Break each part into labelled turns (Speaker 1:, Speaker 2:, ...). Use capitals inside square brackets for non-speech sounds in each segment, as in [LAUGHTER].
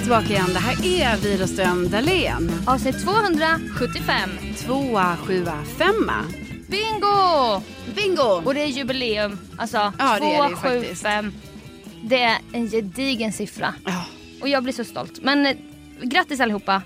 Speaker 1: tillbaka igen. Det här är Widerström Dahlén.
Speaker 2: Avsnitt 275.
Speaker 1: Tvåa, sjua, femma.
Speaker 2: Bingo!
Speaker 1: Bingo!
Speaker 2: Och det är jubileum. Alltså,
Speaker 1: Ja, det är det ju
Speaker 2: 275. Det, är en gedigen siffra.
Speaker 1: Ja.
Speaker 2: Och jag blir så stolt. Men eh, grattis allihopa.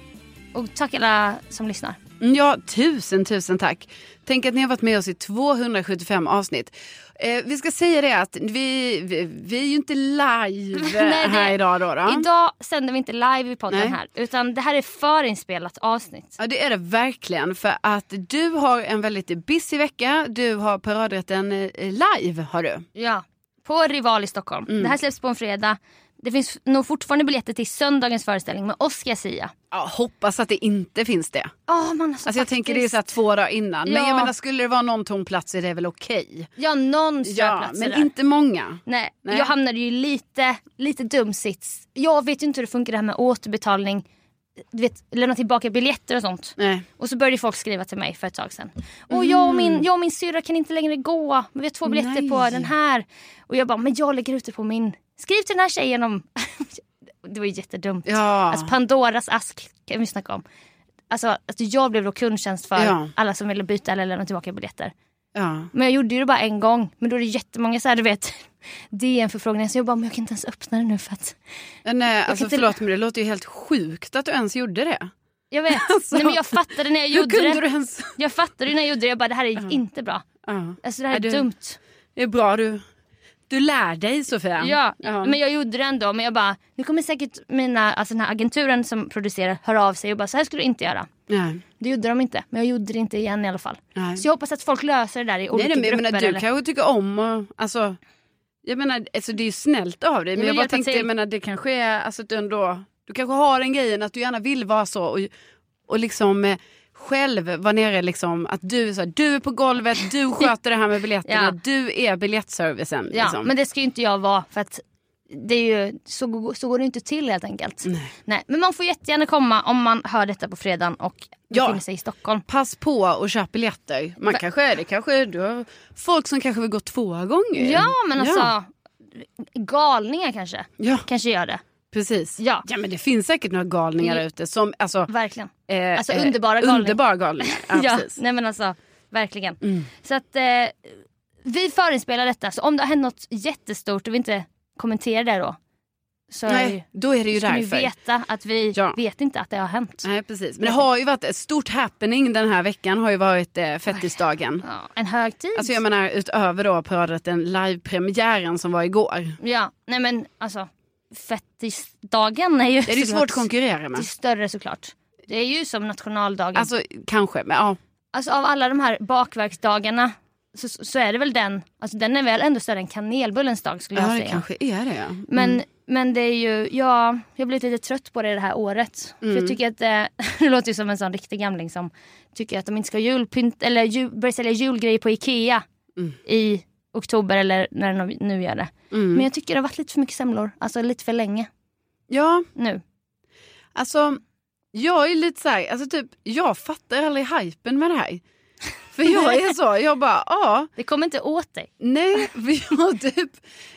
Speaker 2: Och tack alla som lyssnar.
Speaker 1: Mm, Ja, tusen, tusen tack. Tänk att ni har varit med oss i 275 avsnitt. Eh, vi ska säga det att vi, vi, vi är ju inte [LAUGHS] live
Speaker 2: Nej, det-
Speaker 1: här idag. Då, då.
Speaker 2: Idag sänder vi inte live i podden
Speaker 1: Nej.
Speaker 2: här. Utan det här är förinspelat avsnitt.
Speaker 1: Ja, det är det verkligen. För att du har en väldigt busy vecka. Du har paradrätten eh, live. har du.
Speaker 2: Ja. På Rival i Stockholm.
Speaker 1: Mm.
Speaker 2: Det här släpps på en fredag. Det finns nog fortfarande biljetter till söndagens föreställning med Oscar Sia.
Speaker 1: Ja, hoppas att det inte finns det.
Speaker 2: Oh, man, alltså,
Speaker 1: Alltså jag tänker det är
Speaker 2: faktiskt.
Speaker 1: så här två dagar innan. Men
Speaker 2: Ja.
Speaker 1: jag menar skulle det vara någon tom plats är det väl okej.
Speaker 2: Ja, någon
Speaker 1: Ja,
Speaker 2: ströplats
Speaker 1: men inte många.
Speaker 2: Nej,
Speaker 1: Nej.
Speaker 2: jag hamnade ju lite, lite dum sits. Jag vet ju inte hur det funkar det här med återbetalning. Du vet, lämna tillbaka biljetter och sånt.
Speaker 1: Nej.
Speaker 2: Och så började folk skriva till mig för ett tag sedan. Och jag och min, jag och min syrra kan inte längre gå. Men vi har två biljetter
Speaker 1: Mm. Nej.
Speaker 2: på den här. Och jag bara, men jag lägger ut det på min. Skriv till den här tjejen om... [LAUGHS] det var ju jättedumt.
Speaker 1: Ja.
Speaker 2: Alltså Pandoras ask kan vi snacka om. Alltså att jag blev då kundtjänst för
Speaker 1: Ja.
Speaker 2: alla som ville byta eller lämna tillbaka biljetter.
Speaker 1: ja.
Speaker 2: Men jag gjorde ju det bara en gång. Men då är det jättemånga så här, du vet, [LAUGHS] DN-förfrågningar. Så jag bara, men jag kan inte ens öppna det nu för att...
Speaker 1: Nej, alltså
Speaker 2: inte-
Speaker 1: förlåt men det låter ju helt sjukt att du ens gjorde det. [LAUGHS]
Speaker 2: Jag vet. Nej, men jag fattade när jag
Speaker 1: Alltså. Hur
Speaker 2: gjorde
Speaker 1: kunde
Speaker 2: det.
Speaker 1: du ens...
Speaker 2: Jag fattade ju när jag gjorde det. Jag bara, det här är inte bra.
Speaker 1: Ja.
Speaker 2: Alltså det här är,
Speaker 1: Är du-
Speaker 2: dumt.
Speaker 1: Det är bra du... Du lär dig Sofia.
Speaker 2: Ja, men jag gjorde det ändå. Men jag bara, nu kommer säkert mina, alltså den här agenturen som producerar höra av sig och bara, så här skulle du inte göra.
Speaker 1: Nej.
Speaker 2: Det gjorde de inte, men jag gjorde det inte igen i alla fall.
Speaker 1: Nej.
Speaker 2: Så jag hoppas att folk löser det där i
Speaker 1: Nej,
Speaker 2: olika
Speaker 1: nej, men jag
Speaker 2: grupper.
Speaker 1: menar, du
Speaker 2: eller-
Speaker 1: kanske tycker om och, alltså, jag menar, alltså det är ju snällt av dig. Men
Speaker 2: men
Speaker 1: jag bara
Speaker 2: hjälpa
Speaker 1: tänkte,
Speaker 2: till.
Speaker 1: jag menar, det kanske är, alltså att du ändå, du kanske har den grejen att du gärna vill vara så och, och liksom eh, själv vara nere liksom, att du är så här, du är på golvet,
Speaker 2: [LAUGHS]
Speaker 1: du sköter det här med biljetterna,
Speaker 2: Ja.
Speaker 1: du är biljettservicen.
Speaker 2: Ja,
Speaker 1: liksom.
Speaker 2: men det ska ju inte jag vara för att det är ju, så, så går det ju inte till helt enkelt. Nej. men man får jättegärna komma om man hör detta på fredagen och
Speaker 1: Ja.
Speaker 2: befinner sig i Stockholm.
Speaker 1: Pass på och köp biljetter. Man kanske är det, kanske du har folk som kanske vill gå två gånger.
Speaker 2: Ja men alltså,
Speaker 1: Eh, Ja,
Speaker 2: galningar kanske.
Speaker 1: ja
Speaker 2: Kanske gör det.
Speaker 1: precis.
Speaker 2: Ja.
Speaker 1: ja men det finns säkert några galningar
Speaker 2: Mm.
Speaker 1: ute som, alltså
Speaker 2: Verkligen.
Speaker 1: Eh,
Speaker 2: Alltså,
Speaker 1: eh,
Speaker 2: underbara galningar.
Speaker 1: Underbara
Speaker 2: [LAUGHS]
Speaker 1: galningar. Ja, precis. Mm.
Speaker 2: nej men alltså verkligen. Så att eh, vi förinspelar detta så om det har hänt något jättestort och vi inte kommenterar det då. Så
Speaker 1: Nej, då är det ju
Speaker 2: ska ni
Speaker 1: därför.
Speaker 2: veta att vi
Speaker 1: Ja.
Speaker 2: vet inte att det har hänt.
Speaker 1: Nej, precis. Men det har ju varit ett stort happening den här veckan har ju varit eh, fettisdagen.
Speaker 2: Ja, en högtid.
Speaker 1: Alltså jag menar utöver då paradrätten live-premiären som var igår.
Speaker 2: Ja, nej men alltså fettisdagen är ju
Speaker 1: Det är ju
Speaker 2: såklart-
Speaker 1: svårt att konkurrera
Speaker 2: Det är
Speaker 1: med.
Speaker 2: större såklart. Det är ju som nationaldagen. Alltså,
Speaker 1: Alltså kanske, men ja.
Speaker 2: av alla de här bakverksdagarna så, så är det väl den, alltså den är väl ändå större än kanelbullens dag skulle jag
Speaker 1: Ja det
Speaker 2: säga.
Speaker 1: kanske är det. ja. Mm.
Speaker 2: Men, men det är ju, ja, jag har blivit lite trött på det det här året. För
Speaker 1: Mm.
Speaker 2: jag tycker att, eh, [LAUGHS] det låter ju som en sån riktig gamling som tycker att de inte ska ha julpynt, eller ju, börja sälja julgrejer på Ikea
Speaker 1: Mm.
Speaker 2: i oktober eller när de nu gör det.
Speaker 1: Mm.
Speaker 2: Men jag tycker det har varit lite för mycket semlor, alltså lite för länge
Speaker 1: Ja,
Speaker 2: nu.
Speaker 1: alltså jag är lite så här, alltså typ jag fattar aldrig hypen med det här. För jag är så, jag bara ja.
Speaker 2: Det kommer inte åt dig.
Speaker 1: Nej, för jag typ...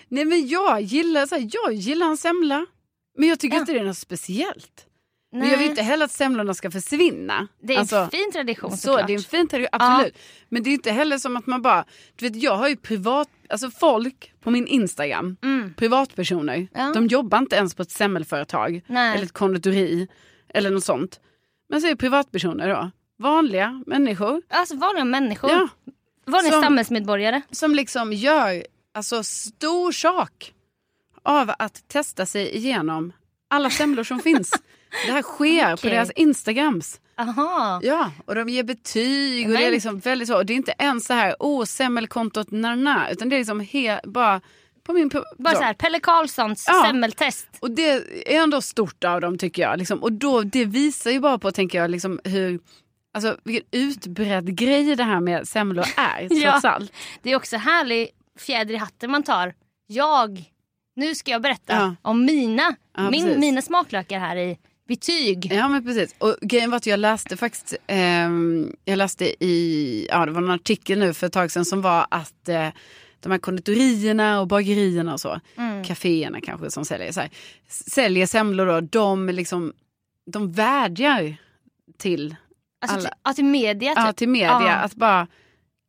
Speaker 1: Nej men jag gillar, så här, jag gillar en semla. Men jag tycker
Speaker 2: Ja.
Speaker 1: inte det är något speciellt. Men
Speaker 2: Nej.
Speaker 1: jag vill ju inte heller att semlorna ska försvinna.
Speaker 2: Det är
Speaker 1: Alltså,
Speaker 2: en fin tradition
Speaker 1: så,
Speaker 2: såklart.
Speaker 1: det är en fin tradition, absolut. Men det är inte heller som att man bara... Du vet, jag har ju privat... Alltså folk på min Instagram,
Speaker 2: Mm.
Speaker 1: privatpersoner,
Speaker 2: Ja.
Speaker 1: de jobbar inte ens på ett semmelföretag
Speaker 2: Nej.
Speaker 1: eller ett konditori eller något sånt. Men så är det privatpersoner då, vanliga människor
Speaker 2: Alltså vanliga människor,
Speaker 1: Ja.
Speaker 2: vanliga
Speaker 1: Som-
Speaker 2: samhällsmedborgare.
Speaker 1: som liksom gör alltså, stor sak av att testa sig igenom alla semlor som [LAUGHS] finns. Det här sker på
Speaker 2: Okej.
Speaker 1: deras Instagrams.
Speaker 2: Aha.
Speaker 1: Ja, och de ger betyg och det är
Speaker 2: Men-
Speaker 1: liksom väldigt så. Och det är inte ens så här, oh, semmelkontot nana, utan det är liksom he, bara på min... På,
Speaker 2: Bara så här, Pelle Karlssons
Speaker 1: Ja.
Speaker 2: semmeltest.
Speaker 1: Och det är ändå stort av dem tycker jag. Liksom. Och då, det visar ju bara på, tänker jag, liksom, hur... Alltså vilken utbredd grej det här med semlor är, [LAUGHS]
Speaker 2: Ja.
Speaker 1: trots allt.
Speaker 2: Det är också härlig fjäder i hatten man tar. Jag, nu ska jag berätta
Speaker 1: Ja.
Speaker 2: om mina,
Speaker 1: Ja, precis.
Speaker 2: min, mina smaklökar här i betyg.
Speaker 1: Ja men precis. Och grejen var att jag läste faktiskt, ehm, jag läste i, ja det var en
Speaker 2: Mm.
Speaker 1: artikel nu för ett tag sedan som var att eh, de här konditorierna och bagerierna och så, kaféerna kanske som säljer, så här, s- säljer semlor då, de, liksom, de vädjar till,
Speaker 2: Alltså,
Speaker 1: Alla-
Speaker 2: till, ja, till media
Speaker 1: ja,
Speaker 2: typ.
Speaker 1: till media
Speaker 2: Ja.
Speaker 1: att bara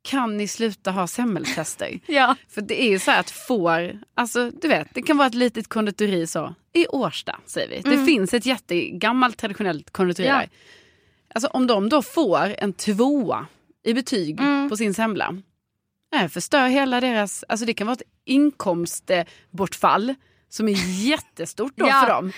Speaker 1: kan ni sluta ha semmeltester?
Speaker 2: Ja.
Speaker 1: För det är ju så här att får, alltså du vet, det kan vara ett litet konditori så, i Årsta säger vi. Det finns ett jättegammalt traditionellt konditori
Speaker 2: Mm. Ja.
Speaker 1: där. Alltså om de då får en tvåa i betyg
Speaker 2: Mm.
Speaker 1: på sin semla, nej, förstör hela deras, alltså det kan vara ett inkomstbortfall som
Speaker 2: [LAUGHS]
Speaker 1: är jättestort då
Speaker 2: Ja.
Speaker 1: för dem.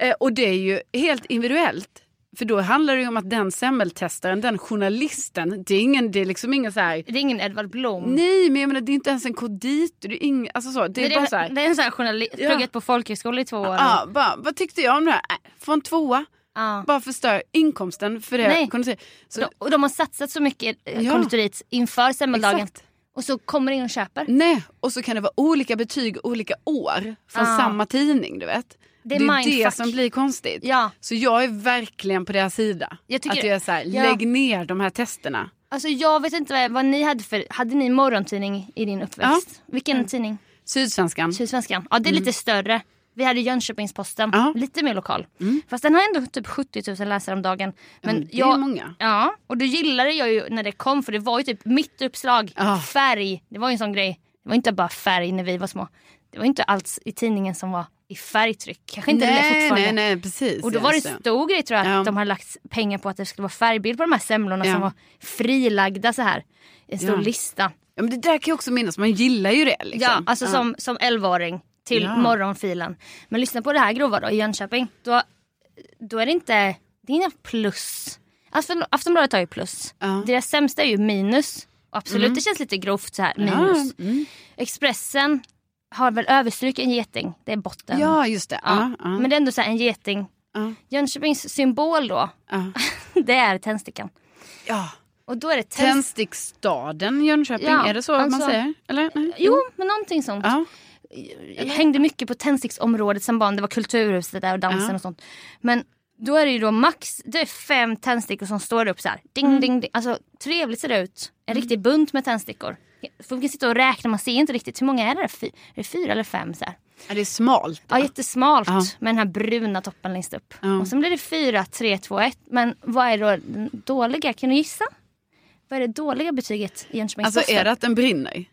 Speaker 1: Eh, och det är ju helt individuellt. För då handlar det ju om att den semmeltestaren, den journalisten, det är, ingen, det är liksom ingen så här
Speaker 2: Det är ingen Edvard Blom.
Speaker 1: Nej, men jag menar, det är inte ens en koditor. Det är, ing, alltså så, det är
Speaker 2: Mm. Men
Speaker 1: bara
Speaker 2: en-
Speaker 1: så här.
Speaker 2: det är en sån här journalist,
Speaker 1: Ja.
Speaker 2: pluggat på folkhögskola i två år.
Speaker 1: Ja, bara, vad tyckte jag om det här? Äh, Få en tvåa.
Speaker 2: Ja.
Speaker 1: Bara förstör inkomsten för det.
Speaker 2: Nej.
Speaker 1: Kunde säga. Så,
Speaker 2: De, och de har satsat så mycket eh,
Speaker 1: Ja.
Speaker 2: konditoriet inför semmeldagen.
Speaker 1: Exakt.
Speaker 2: Och så kommer ingen och köper.
Speaker 1: Nej, och så kan det vara olika betyg olika år från
Speaker 2: Ja.
Speaker 1: samma tidning. du vet.
Speaker 2: Ah. Det är
Speaker 1: är det
Speaker 2: mindfuck.
Speaker 1: som blir konstigt.
Speaker 2: Ja.
Speaker 1: Så jag är verkligen på deras sida.
Speaker 2: Jag tycker-
Speaker 1: att jag är så här,
Speaker 2: Ja.
Speaker 1: lägg ner de här testerna.
Speaker 2: Alltså jag vet inte vad, vad ni hade för, hade ni morgontidning i din uppväxt? Vilken
Speaker 1: Mm.
Speaker 2: tidning?
Speaker 1: Sydsvenskan.
Speaker 2: Sydsvenskan? Ja det är lite större. Vi hade Jönköpingsposten,
Speaker 1: Mm. Ja. Mm.
Speaker 2: lite mer lokal. Fast den har ändå typ 70 000 läsare om dagen. Men
Speaker 1: Men mm, det är
Speaker 2: jag,
Speaker 1: många.
Speaker 2: Ja, och då gillade jag ju när det kom för det var ju typ mitt uppslag,
Speaker 1: Ah.
Speaker 2: färg. Det var ju en sån grej. Det var inte bara färg när vi var små. Det var inte alls i tidningen som var i färgtryck. Kanske inte det
Speaker 1: nej, nej,
Speaker 2: fortfarande.
Speaker 1: nej, precis.
Speaker 2: Och då var det
Speaker 1: Just
Speaker 2: en stor grej tror jag att
Speaker 1: Ja.
Speaker 2: de hade lagt pengar på att det skulle vara färgbild på de här semlorna
Speaker 1: Ja.
Speaker 2: som var frilagda så här. En stor
Speaker 1: Ja.
Speaker 2: lista.
Speaker 1: ja, men det där kan jag också minnas, man gillar ju det. Liksom.
Speaker 2: Ja, alltså Som, som 11-åring till
Speaker 1: Ja.
Speaker 2: morgonfilen. Men lyssna på det här grova då i Jönköping. Då, då är det inte, det är inga plus. Afton, Aftonbladet har ju plus.
Speaker 1: Ja. Mm.
Speaker 2: Deras sämsta är ju minus. Absolut det känns lite grovt så här minus.
Speaker 1: Ja, mm.
Speaker 2: Expressen har väl överstryk en geting. Det är botten.
Speaker 1: ja just det.
Speaker 2: Ja.
Speaker 1: Ja, ja.
Speaker 2: Men det är ändå så här en geting.
Speaker 1: Ja.
Speaker 2: Jönköpings symbol då.
Speaker 1: Ja.
Speaker 2: det är tändstickan. [LAUGHS]
Speaker 1: ja.
Speaker 2: Och då är det tänds-
Speaker 1: Tändstickstaden Jönköping,
Speaker 2: Ja,
Speaker 1: är det så
Speaker 2: alltså-
Speaker 1: man säger? Eller? Nej.
Speaker 2: Jo, men någonting sånt.
Speaker 1: Mm. Ja.
Speaker 2: Jag hängde mycket på tändsticksområdet som barn. Det var kulturhuset där och dansen
Speaker 1: Ja.
Speaker 2: och sånt. Men då är det ju då max, det är fem tändstickor som står upp så här. Ding,
Speaker 1: Mm.
Speaker 2: ding, ding. Alltså trevligt ser det ut. En riktig bunt med tändstickor. Folk kan sitta och räkna, man ser inte riktigt. Hur många är det? Fy, är det fyra eller fem? Så här.
Speaker 1: ja, det är smalt.
Speaker 2: Ja, jättesmalt
Speaker 1: Ja.
Speaker 2: med den här bruna toppen längst upp.
Speaker 1: Ja.
Speaker 2: Och sen blir det fyra, tre, två, ett. Men vad är då den dåliga? Kan du gissa? Vad är det dåliga betyget i Jönköpings
Speaker 1: Alltså är det att den brinner?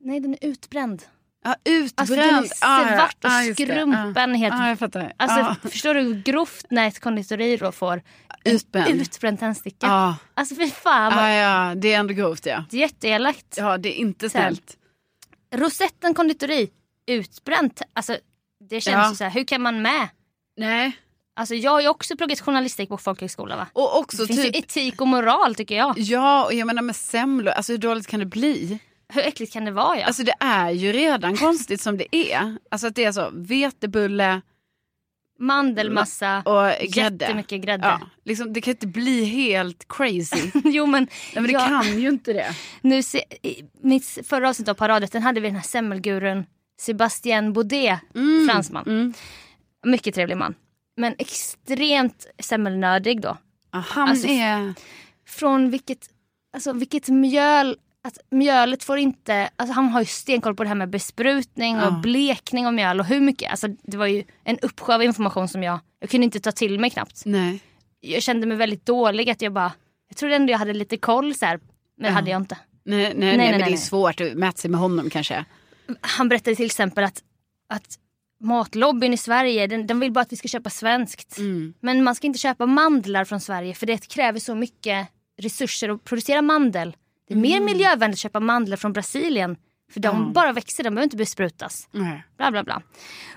Speaker 2: Nej, den är utbränd.
Speaker 1: Ja, utbränd.
Speaker 2: Alltså den är
Speaker 1: Ah, ja.
Speaker 2: svart och
Speaker 1: Ah, just det.
Speaker 2: skrumpen
Speaker 1: Ja,
Speaker 2: helt.
Speaker 1: ah, jag fattar.
Speaker 2: Alltså
Speaker 1: ah,
Speaker 2: förstår du hur grovt när ett konditori då får
Speaker 1: utbränd.
Speaker 2: utbränd tändsticka?
Speaker 1: ah.
Speaker 2: Alltså fy fan vad
Speaker 1: Ah, ja, det är ändå grovt ja.
Speaker 2: det är jätteelakt.
Speaker 1: Ja, det är inte snällt.
Speaker 2: Rosetten konditori, utbränt. Alltså det känns
Speaker 1: Ja.
Speaker 2: ju så här, hur kan man med?
Speaker 1: Nej.
Speaker 2: Alltså jag har ju också pluggat journalistik på folkhögskola va?
Speaker 1: Och
Speaker 2: Det
Speaker 1: också
Speaker 2: finns
Speaker 1: typ...
Speaker 2: ju etik och moral tycker jag.
Speaker 1: Ja, och jag menar med semlor, alltså hur dåligt kan det bli?
Speaker 2: Hur äckligt kan det vara ja?
Speaker 1: Alltså det är ju redan konstigt som det är. Alltså att det är så vetebulle
Speaker 2: Mandelmassa,
Speaker 1: och grädde.
Speaker 2: jättemycket grädde.
Speaker 1: Ja, liksom, det kan inte bli helt crazy.
Speaker 2: [LAUGHS] jo men,
Speaker 1: Nej, men det
Speaker 2: jag-
Speaker 1: kan ju inte det.
Speaker 2: Nu se, i mitt förra avsnitt av Paradrätten hade vi den här semmelgurun Sebastian Baudet, fransman.
Speaker 1: mm.
Speaker 2: Mycket trevlig man. Men extremt semmelnördig då.
Speaker 1: Ja, han
Speaker 2: Alltså,
Speaker 1: är...
Speaker 2: Från vilket, alltså vilket mjöl, att mjölet får inte, alltså han har ju stenkoll på det här med besprutning och
Speaker 1: Ja.
Speaker 2: blekning av mjöl och hur mycket, alltså det var ju en uppsjö av information som jag, jag kunde inte ta till mig knappt.
Speaker 1: Nej.
Speaker 2: Jag kände mig väldigt dålig att jag bara, jag trodde ändå jag hade lite koll så här, men det hade jag inte.
Speaker 1: Nej, nej, nej,
Speaker 2: nej,
Speaker 1: men det
Speaker 2: nej.
Speaker 1: är svårt att mäta sig med honom kanske.
Speaker 2: han berättade till exempel att, att matlobbyn i Sverige, den, den vill bara att vi ska köpa svenskt.
Speaker 1: Mm.
Speaker 2: Men man ska inte köpa mandlar från Sverige för det kräver så mycket resurser att producera mandel. Det är
Speaker 1: Mm.
Speaker 2: mer miljövänligt att köpa mandlar från Brasilien. För de bara växer, de behöver inte besprutas.
Speaker 1: Nej.
Speaker 2: Bla bla bla.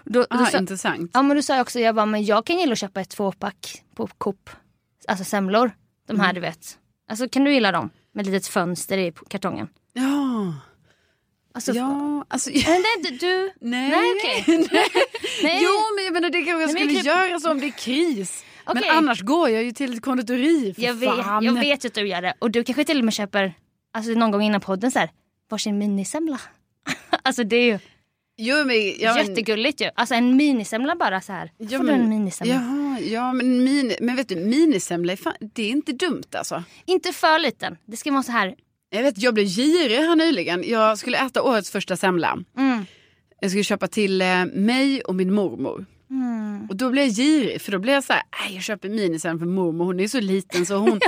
Speaker 2: Då, då,
Speaker 1: Ah,
Speaker 2: sa,
Speaker 1: intressant.
Speaker 2: ja, men då sa jag också, jag bara, men jag kan gilla att köpa ett tvåpack på Coop. Alltså semlor. De här
Speaker 1: Mm.
Speaker 2: du vet. Alltså kan du gilla dem? Med ett litet fönster i kartongen.
Speaker 1: Ja,
Speaker 2: Alltså,
Speaker 1: ja alltså...
Speaker 2: Men det, du,
Speaker 1: [LAUGHS] Nej.
Speaker 2: Nej, okej. nej.
Speaker 1: Jo, men jag menar, det kanske jag
Speaker 2: men
Speaker 1: skulle
Speaker 2: jag
Speaker 1: göra så om det är kris.
Speaker 2: Okej.
Speaker 1: Men annars går jag ju till ett konditori, för
Speaker 2: Jag vet,
Speaker 1: fan.
Speaker 2: jag vet ju att du gör det. Och du kanske till och med köper, alltså någon gång innan podden så här, varsin minisemla. [LAUGHS] alltså det är ju
Speaker 1: Jo, men, ja, men,
Speaker 2: jättegulligt ju. Alltså en minisemla bara så här.
Speaker 1: ja,
Speaker 2: Får du
Speaker 1: men-
Speaker 2: en minisemla?
Speaker 1: Ja, ja men, mini, men vet du, minisemla, är fan, det är inte dumt alltså.
Speaker 2: Inte för liten. Det ska vara så här.
Speaker 1: Jag vet, jag blev girig här nyligen. Jag skulle äta årets första semla.
Speaker 2: Mm.
Speaker 1: jag skulle köpa till eh, mig och min mormor.
Speaker 2: Mm.
Speaker 1: Och då blev jag girig för då blev jag så här, "Aj, jag köper minisen för mormor hon är ju så liten så
Speaker 2: [LAUGHS]
Speaker 1: hon,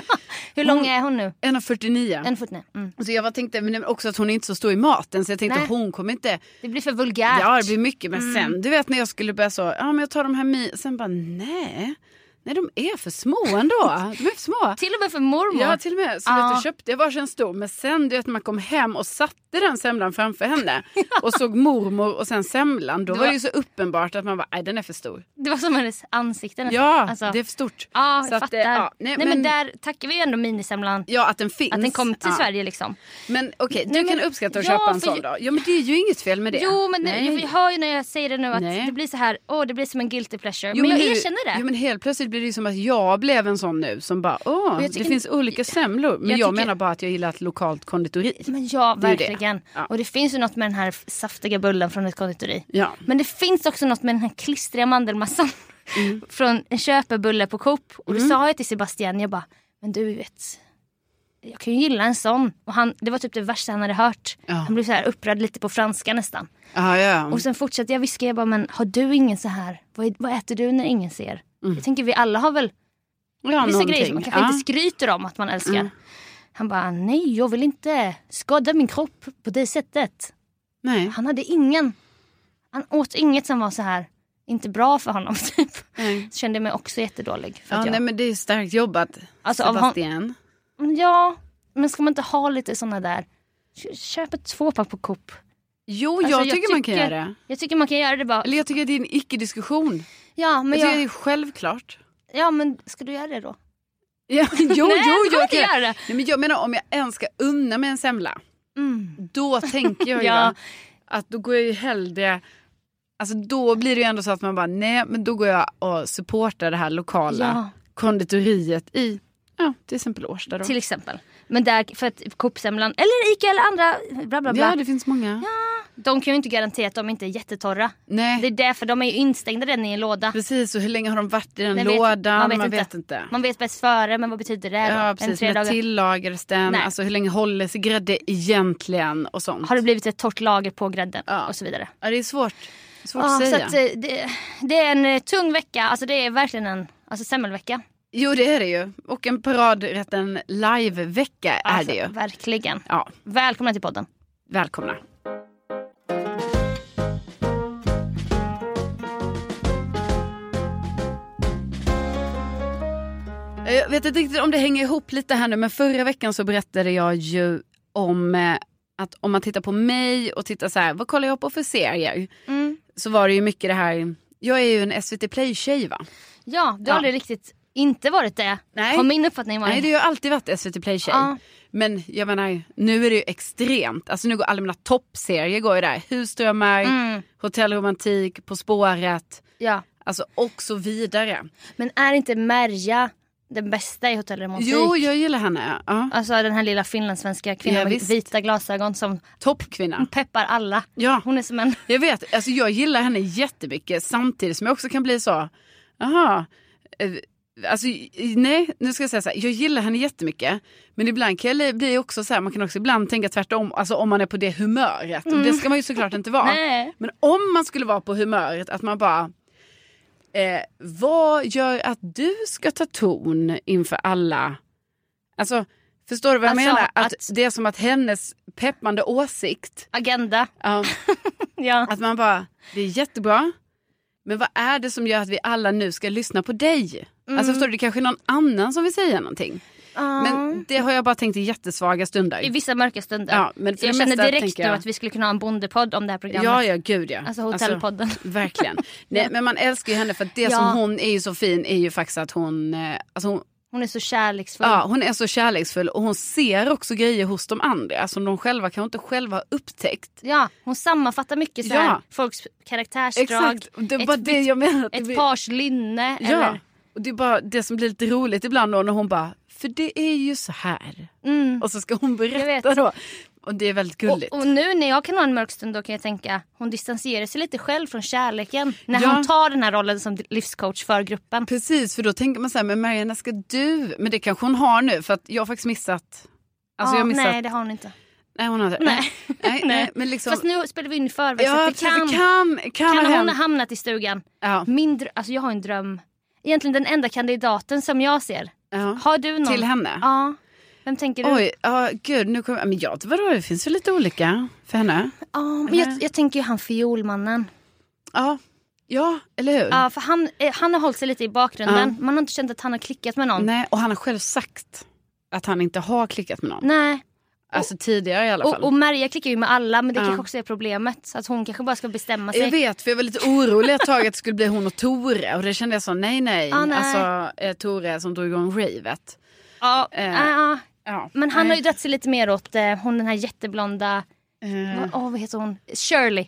Speaker 2: Hur lång är hon nu?
Speaker 1: 1,49.
Speaker 2: En fot ner. Mm.
Speaker 1: Så jag var- tänkte men också att hon är inte så stor i maten så jag tänkte
Speaker 2: Nej. Mm.
Speaker 1: hon kommer inte,
Speaker 2: Det blir för vulgärt.
Speaker 1: ja det blir mycket men sen du vet när jag skulle börja så, ja men jag tar de här mi, sen bara nej, nej de är för små ändå, de är för små.
Speaker 2: Till och med för mormor.
Speaker 1: Ja till och med, så
Speaker 2: Ja.
Speaker 1: vet du, köpte jag varsin stor men sen du vet man kom hem och satte den semlan framför
Speaker 2: [LAUGHS]
Speaker 1: henne och såg mormor och sen semlan då
Speaker 2: Det
Speaker 1: var det
Speaker 2: var-
Speaker 1: ju så uppenbart att man bara, nej den är för stor.
Speaker 2: Det var som hennes ansikte nästan.
Speaker 1: Ja,
Speaker 2: Alltså.
Speaker 1: det är för stort.
Speaker 2: Ja,
Speaker 1: Så
Speaker 2: jag
Speaker 1: att,
Speaker 2: fattar.
Speaker 1: eh, ja, nej,
Speaker 2: nej, men...
Speaker 1: men-
Speaker 2: där tackar vi ju ändå minisemlan.
Speaker 1: Ja, att den finns.
Speaker 2: Att den kom till
Speaker 1: ja.
Speaker 2: Sverige liksom.
Speaker 1: Men okej,
Speaker 2: Nej,
Speaker 1: du kan
Speaker 2: men-
Speaker 1: uppskatta att
Speaker 2: ja,
Speaker 1: köpa en
Speaker 2: för
Speaker 1: sån
Speaker 2: ju-
Speaker 1: då? Ja, men det är ju inget fel med det.
Speaker 2: Jo men
Speaker 1: Nej.
Speaker 2: jag, jag hör ju när jag säger det nu att
Speaker 1: Nej.
Speaker 2: det blir så här, åh det blir som en guilty pleasure.
Speaker 1: Jo,
Speaker 2: men, jag
Speaker 1: nu-
Speaker 2: erkänner det.
Speaker 1: Jo, men helt plötsligt blir det ju som att jag blev en sån nu som bara, åh,
Speaker 2: Men
Speaker 1: det
Speaker 2: jag tycker-
Speaker 1: finns olika semlor. Men jag,
Speaker 2: jag tycker-
Speaker 1: menar bara att jag gillar ett lokalt konditori.
Speaker 2: Men ja,
Speaker 1: Det är ju det.
Speaker 2: verkligen.
Speaker 1: Ja.
Speaker 2: Och det finns ju något med den här f- saftiga bullen från ett konditori.
Speaker 1: Ja.
Speaker 2: Men det finns också något med den här klistriga mandelmassan.
Speaker 1: Mm.
Speaker 2: [LAUGHS] från en köpebulle på Coop. Och då sa jag till Sebastian, jag bara, men du vet. Jag kan ju gilla en sån. Och han, det var typ det värsta han hade hört.
Speaker 1: Ja. Mm.
Speaker 2: Han blev så här upprörd lite på franska nästan.
Speaker 1: Ja, ja.
Speaker 2: Och sen fortsatte jag viska, jag bara, men har du ingen så här? Vad, är- vad äter du när ingen ser?
Speaker 1: Mm.
Speaker 2: Jag tänker vi alla har väl
Speaker 1: ja
Speaker 2: vissa
Speaker 1: någonting.
Speaker 2: grejer som man kanske
Speaker 1: ja. Mm.
Speaker 2: inte skryter om att man älskar. Han bara, nej jag vill inte skada min kropp på det sättet.
Speaker 1: Nej.
Speaker 2: Han hade ingen. Han åt inget som var så här, inte bra för honom [LAUGHS] typ.
Speaker 1: Nej.
Speaker 2: Så kände jag mig också jättedålig. För
Speaker 1: Mm. Ja,
Speaker 2: att
Speaker 1: nej,
Speaker 2: jag,
Speaker 1: men det är starkt jobbat,
Speaker 2: Alltså, av hon-
Speaker 1: Sebastian.
Speaker 2: ja, men ska man inte ha lite såna där? Kö- Köp ett tvåpack på Coop.
Speaker 1: Jo,
Speaker 2: Alltså,
Speaker 1: jag, tycker man kan göra det.
Speaker 2: Jag tycker man kan göra det bara.
Speaker 1: Eller jag tycker det är en icke-diskussion.
Speaker 2: Ja
Speaker 1: Jag
Speaker 2: men,
Speaker 1: tycker det
Speaker 2: jag,
Speaker 1: är
Speaker 2: [LAUGHS]
Speaker 1: självklart.
Speaker 2: ja, men ska du göra det då?
Speaker 1: Ja, [LAUGHS] jo, jo,
Speaker 2: Nej, jag
Speaker 1: jag
Speaker 2: tror inte
Speaker 1: kan
Speaker 2: göra det.
Speaker 1: Nej, men jag menar om jag ens ska unna mig en semla,
Speaker 2: Mm.
Speaker 1: då tänker
Speaker 2: [LAUGHS]
Speaker 1: jag ju
Speaker 2: Ja.
Speaker 1: va, att då går jag ju hellre... Alltså då blir det ju ändå så att man bara, nej men då går jag och supportar det här lokala
Speaker 2: Ja.
Speaker 1: konditoriet i ja, till exempel Årsta då.
Speaker 2: Till exempel. Men där, för att Coop-semlan, eller Ica eller andra, bla bla bla.
Speaker 1: ja, det finns många.
Speaker 2: De kan ju inte garantera att de inte är jättetorra.
Speaker 1: Nej,
Speaker 2: Det är därför de är ju instängda redan i en låda.
Speaker 1: precis. Och hur länge har de varit i den
Speaker 2: Nej, vet-
Speaker 1: lådan?
Speaker 2: man vet inte.
Speaker 1: inte.
Speaker 2: Man vet bäst före men vad betyder det då?
Speaker 1: Ja,
Speaker 2: en
Speaker 1: precis.
Speaker 2: tre
Speaker 1: När
Speaker 2: dagar.
Speaker 1: tillagades den?
Speaker 2: Nej.
Speaker 1: Alltså hur länge håller sig grädde egentligen? Och sånt.
Speaker 2: Har det blivit ett torrt lager på grädden
Speaker 1: Ja.
Speaker 2: och så vidare.
Speaker 1: ja, det är svårt. Svårt
Speaker 2: Ja,
Speaker 1: att
Speaker 2: så
Speaker 1: säga.
Speaker 2: att, eh, det, det är en eh, tung vecka, alltså det är verkligen en alltså, semmelvecka.
Speaker 1: Jo, det är det ju. Och en paradrätten live-vecka är
Speaker 2: Alltså,
Speaker 1: det ju.
Speaker 2: Verkligen.
Speaker 1: Ja,
Speaker 2: Välkomna till podden.
Speaker 1: välkomna. Eh, Jag vet inte riktigt om det hänger ihop lite här nu, men förra veckan så berättade jag ju om eh, att om man tittar på mig och tittar så här, vad kollar jag på för serier?
Speaker 2: Mm.
Speaker 1: Så var det ju mycket det här, jag är ju en SVT Play-tjej va?
Speaker 2: Ja, du
Speaker 1: Ja.
Speaker 2: har aldrig riktigt inte varit det.
Speaker 1: Nej.
Speaker 2: Har min uppfattning varit.
Speaker 1: Nej, det har ju alltid varit SVT Play-tjej.
Speaker 2: Ja.
Speaker 1: Men jag menar, nu är det ju extremt. Alltså nu går alla mina toppserier går ju där. Husdrömmar,
Speaker 2: Mm.
Speaker 1: Hotellromantik, På spåret.
Speaker 2: Ja.
Speaker 1: Alltså och så vidare.
Speaker 2: Men är inte Merja den bästa i Hotell Romantik?
Speaker 1: Jo, jag gillar henne. Ja.
Speaker 2: Alltså den här lilla finlandssvenska
Speaker 1: Ja,
Speaker 2: kvinnan med
Speaker 1: visst.
Speaker 2: vita glasögon som
Speaker 1: Toppkvinna.
Speaker 2: peppar alla.
Speaker 1: Ja,
Speaker 2: Hon är som en...
Speaker 1: jag vet. Alltså jag gillar henne jättemycket samtidigt som jag också kan bli så, jaha. eh, Alltså i- nej, nu ska jag säga så här. Jag gillar henne jättemycket. Men ibland kan jag bli också så här, man kan också ibland tänka tvärtom. Alltså om man är på det humöret. Och det ska man ju såklart inte vara.
Speaker 2: Nej.
Speaker 1: Men om man skulle vara på humöret att man bara eh, Vad gör att du ska ta ton inför alla? Alltså förstår du vad jag
Speaker 2: Alltså,
Speaker 1: menar? Att,
Speaker 2: att-
Speaker 1: det är som att hennes peppande åsikt
Speaker 2: Agenda.
Speaker 1: ja,
Speaker 2: Ja.
Speaker 1: Att man bara Det är jättebra Men vad är det som gör att vi alla nu ska lyssna på dig?
Speaker 2: Mm.
Speaker 1: Alltså förstår du, det kanske är någon annan som vill säga någonting. Men det har jag bara tänkt i jättesvaga stunder.
Speaker 2: I vissa mörka stunder.
Speaker 1: Ja, men för
Speaker 2: jag
Speaker 1: det
Speaker 2: känner
Speaker 1: mesta
Speaker 2: direkt
Speaker 1: tänker
Speaker 2: nu
Speaker 1: jag-
Speaker 2: att vi skulle kunna ha en bondepodd om det här programmet.
Speaker 1: Ja, ja, gud ja.
Speaker 2: Alltså hotellpodden. [LAUGHS]
Speaker 1: Verkligen. Nej, men man älskar ju henne för att det
Speaker 2: Ja.
Speaker 1: som hon är ju så fin är ju faktiskt att hon, eh, alltså hon,
Speaker 2: Hon är så kärleksfull.
Speaker 1: ja, hon är så kärleksfull och hon ser också grejer hos de andra som de själva kanske inte själva har upptäckt.
Speaker 2: Ja, hon sammanfattar mycket så här,
Speaker 1: Ja.
Speaker 2: folks karaktärsdrag.
Speaker 1: Exakt, och det
Speaker 2: ett,
Speaker 1: var det jag menade. att det
Speaker 2: ett
Speaker 1: blir-
Speaker 2: pars linne.
Speaker 1: ja.
Speaker 2: Eller,
Speaker 1: och det är bara det som blir lite roligt ibland då när hon bara, för det är ju så här.
Speaker 2: mm.
Speaker 1: Och så ska hon
Speaker 2: vet.
Speaker 1: berätta då. Och det är väldigt gulligt.
Speaker 2: och, och nu när jag kan ha en mörk stund då kan jag tänka hon distanserar sig lite själv från kärleken. När
Speaker 1: Ja.
Speaker 2: hon tar den här rollen som livscoach för gruppen.
Speaker 1: Precis, för då tänker man så här, men Maria, när ska du? Men det kanske hon har nu, för att jag har faktiskt missat. Alltså
Speaker 2: Ja,
Speaker 1: jag har missat
Speaker 2: nej det har hon inte.
Speaker 1: Nej, hon har inte.
Speaker 2: Nej.
Speaker 1: nej, nej, men liksom.
Speaker 2: Fast nu spelar vi in förväg så
Speaker 1: ja,
Speaker 2: att det kan,
Speaker 1: precis, kan, kan,
Speaker 2: kan
Speaker 1: ha
Speaker 2: hon ha
Speaker 1: hänt.
Speaker 2: hamnat i stugan.
Speaker 1: Ja,
Speaker 2: Min drö- alltså jag har en dröm. Egentligen den enda kandidaten som jag ser.
Speaker 1: ja.
Speaker 2: Har du någon?
Speaker 1: Till henne?
Speaker 2: Ja. Vem tänker du?
Speaker 1: Oj, ja gud, nu kommer... Men ja, vadå, det finns väl lite olika för henne?
Speaker 2: Ja, men jag, jag tänker ju han fiolmannen.
Speaker 1: Ja, ja eller hur?
Speaker 2: Ja, för han, eh, han har hållit sig lite i bakgrunden. Man har inte känt att han har klickat med någon.
Speaker 1: Nej, och han har själv sagt att han inte har klickat med någon.
Speaker 2: Nej.
Speaker 1: Alltså tidigare i alla fall.
Speaker 2: Och, och Maria klickar ju med alla men det
Speaker 1: Ja.
Speaker 2: kanske också är problemet. Så att hon kanske bara ska bestämma sig.
Speaker 1: jag vet, för jag var lite orolig ett tag att det skulle bli hon och Tore. Och det kände jag så, nej nej.
Speaker 2: Ah, nej.
Speaker 1: Alltså eh, Tore som drog igång ravet.
Speaker 2: Ja,
Speaker 1: Eh.
Speaker 2: ja, ja.
Speaker 1: Ja.
Speaker 2: Men han
Speaker 1: nej.
Speaker 2: har ju dragit sig lite mer åt eh, hon den här jätteblonda,
Speaker 1: Eh,
Speaker 2: vad- åh vad heter hon? Shirley.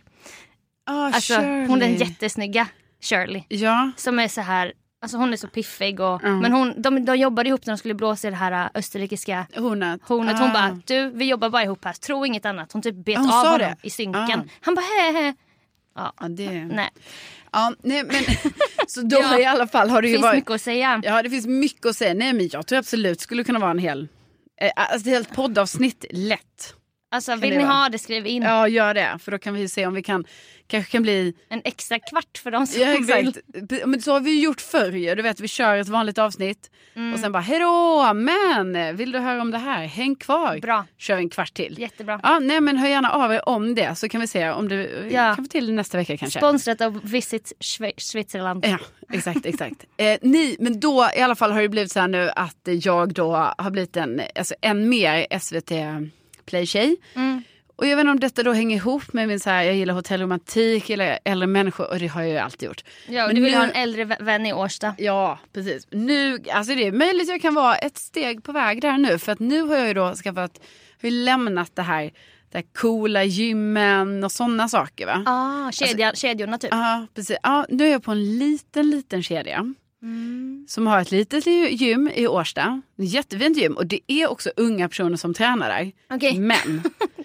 Speaker 1: ah,
Speaker 2: Alltså
Speaker 1: Shirley.
Speaker 2: hon den jättesnygga Shirley.
Speaker 1: Ja,
Speaker 2: Som är så här, alltså hon är så piffig och,
Speaker 1: Ja.
Speaker 2: men hon, de, de jobbade ihop när de skulle blåsa i det här eh, österrikiska
Speaker 1: hornet.
Speaker 2: hornet.
Speaker 1: Ah.
Speaker 2: Hon bara, du vi jobbar bara ihop här, tro inget annat. Hon typ bet
Speaker 1: Hon
Speaker 2: av
Speaker 1: sa
Speaker 2: honom
Speaker 1: det?
Speaker 2: i synken.
Speaker 1: Ah. Mm.
Speaker 2: Han bara, he he.
Speaker 1: Ja, det...
Speaker 2: Nej,
Speaker 1: ja, nej men
Speaker 2: [LAUGHS]
Speaker 1: så då
Speaker 2: Ja.
Speaker 1: i alla fall har det
Speaker 2: det
Speaker 1: ju
Speaker 2: finns
Speaker 1: varit...
Speaker 2: mycket att säga.
Speaker 1: Ja, det finns mycket att säga. Nej, men jag tror absolut skulle kunna vara en hel... Eh, alltså ett helt poddavsnitt, lätt.
Speaker 2: Alltså
Speaker 1: det
Speaker 2: vill ni
Speaker 1: vara?
Speaker 2: ha det skriv in.
Speaker 1: Ja, gör det. För då kan vi se om vi kan... Kanske kan bli...
Speaker 2: En extra kvart för de
Speaker 1: [LAUGHS]
Speaker 2: som
Speaker 1: Ja,
Speaker 2: vill.
Speaker 1: exakt. Men så har vi ju gjort förr ju. Du vet, vi kör ett vanligt avsnitt.
Speaker 2: Mm.
Speaker 1: Och sen bara, hejdå, men vill du höra om det här? Häng kvar.
Speaker 2: Bra,
Speaker 1: Kör en kvart till.
Speaker 2: jättebra.
Speaker 1: Ja, nej men hör gärna av er om det så kan vi se om du
Speaker 2: Ja.
Speaker 1: kan få till nästa vecka kanske. Eh.
Speaker 2: Sponsrat av Visit Schwe- Switzerland.
Speaker 1: Ja, exakt, exakt. [LAUGHS] Eh, ni, men då i alla fall har det blivit så här nu att jag då har blivit en, alltså en mer SVT Play-tjej.
Speaker 2: Mm.
Speaker 1: Och jag vet inte om detta då hänger ihop med min så här, jag gillar hotellromantik, jag gillar äldre människor och det har jag ju alltid gjort.
Speaker 2: Ja, och
Speaker 1: Men
Speaker 2: du vill
Speaker 1: nu-
Speaker 2: ha en äldre vä- vän i Årsta.
Speaker 1: Ja, precis. Nu, alltså det är möjligt jag kan vara ett steg på väg där nu. För att nu har jag ju då skaffat, har ju lämnat det här, det här coola gymmen och sådana saker va.
Speaker 2: Ah, kedja, kedjorna typ.
Speaker 1: Ja, precis. Ja, nu är jag på en liten, liten kedja.
Speaker 2: Mm.
Speaker 1: Som har ett litet gy- gym i Årsta. Jättefint gym. Och det är också unga personer som tränar där.
Speaker 2: Okej.
Speaker 1: Men
Speaker 2: [LAUGHS]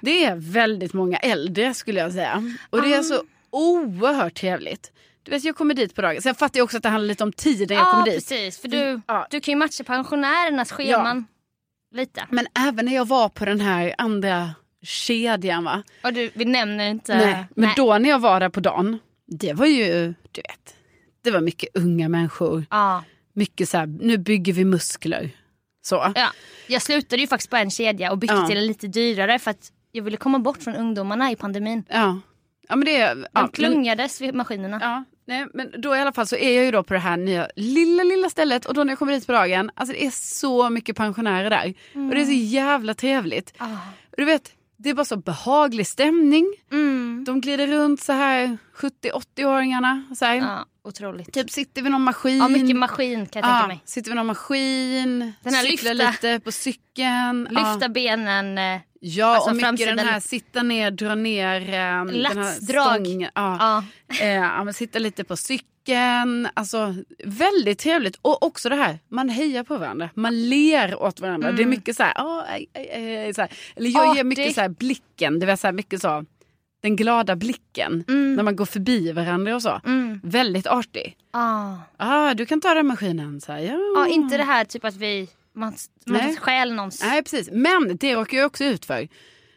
Speaker 1: det är väldigt många äldre skulle jag säga. Och
Speaker 2: Ah.
Speaker 1: det är så oerhört trevligt. Du vet, jag kommer dit på dagen. Sen fattar jag också att det handlar lite om tiden jag
Speaker 2: Ja,
Speaker 1: kommer dit.
Speaker 2: Ah,
Speaker 1: Mm.
Speaker 2: precis. För du,
Speaker 1: Ja.
Speaker 2: du kan ju matcha pensionärernas scheman. Lite.
Speaker 1: Men även när jag var på den här andra kedjan va.
Speaker 2: Och du, vi nämner inte...
Speaker 1: Nej, men då när jag var där på dagen. Det var ju, du vet. Det var mycket unga människor.
Speaker 2: Ja.
Speaker 1: mycket så här, nu bygger vi muskler. Så.
Speaker 2: ja. Jag slutade ju faktiskt på en kedja och bytte
Speaker 1: Ja.
Speaker 2: till en lite dyrare för att jag ville komma bort från ungdomarna i pandemin.
Speaker 1: Ja. Ja men det är...
Speaker 2: De
Speaker 1: Ja, men,
Speaker 2: klungades vid maskinerna.
Speaker 1: ja, nej, men då i alla fall så är jag ju då på det här nya lilla, lilla stället och då när jag kommer dit på dagen, alltså det är så mycket pensionärer där. Och det är så jävla trevligt.
Speaker 2: Ah.
Speaker 1: Och du vet, det är bara så behaglig stämning.
Speaker 2: Mm.
Speaker 1: De glider runt så här 70-80-åringarna. Så här.
Speaker 2: Ja, otroligt.
Speaker 1: Typ sitter vid någon maskin.
Speaker 2: Ja, mycket maskin kan jag tänka
Speaker 1: Ja,
Speaker 2: mig.
Speaker 1: sitter vid någon maskin,
Speaker 2: Den här
Speaker 1: cyklar
Speaker 2: lyfta-
Speaker 1: lite på cykeln. Ja.
Speaker 2: Lyfta benen. eh,
Speaker 1: Ja,
Speaker 2: Alltså,
Speaker 1: och mycket
Speaker 2: framsidan-
Speaker 1: den här sitta ner, dra ner ehm, den här
Speaker 2: Latsdrag.
Speaker 1: stången. Ja.
Speaker 2: Ja.
Speaker 1: Eh, ja, men sitta lite på cykeln. Alltså, väldigt trevligt. Och också det här, man hejar på varandra. Man ler åt varandra. Det är mycket så här, "Åh, aj, aj, aj, aj", så här. Eller jag ger
Speaker 2: Mm. Artigt.
Speaker 1: mycket så här blicken, det vill säga mycket så, den glada blicken. När man går förbi varandra och så.
Speaker 2: Mm.
Speaker 1: Väldigt artig.
Speaker 2: Ah.
Speaker 1: Ah, du kan ta den maskinen. Så här, ja.
Speaker 2: Ja, inte det här typ att vi man, man
Speaker 1: Mm. Nej.
Speaker 2: stjäl någons...
Speaker 1: Nej precis, men det råkade jag också ut för.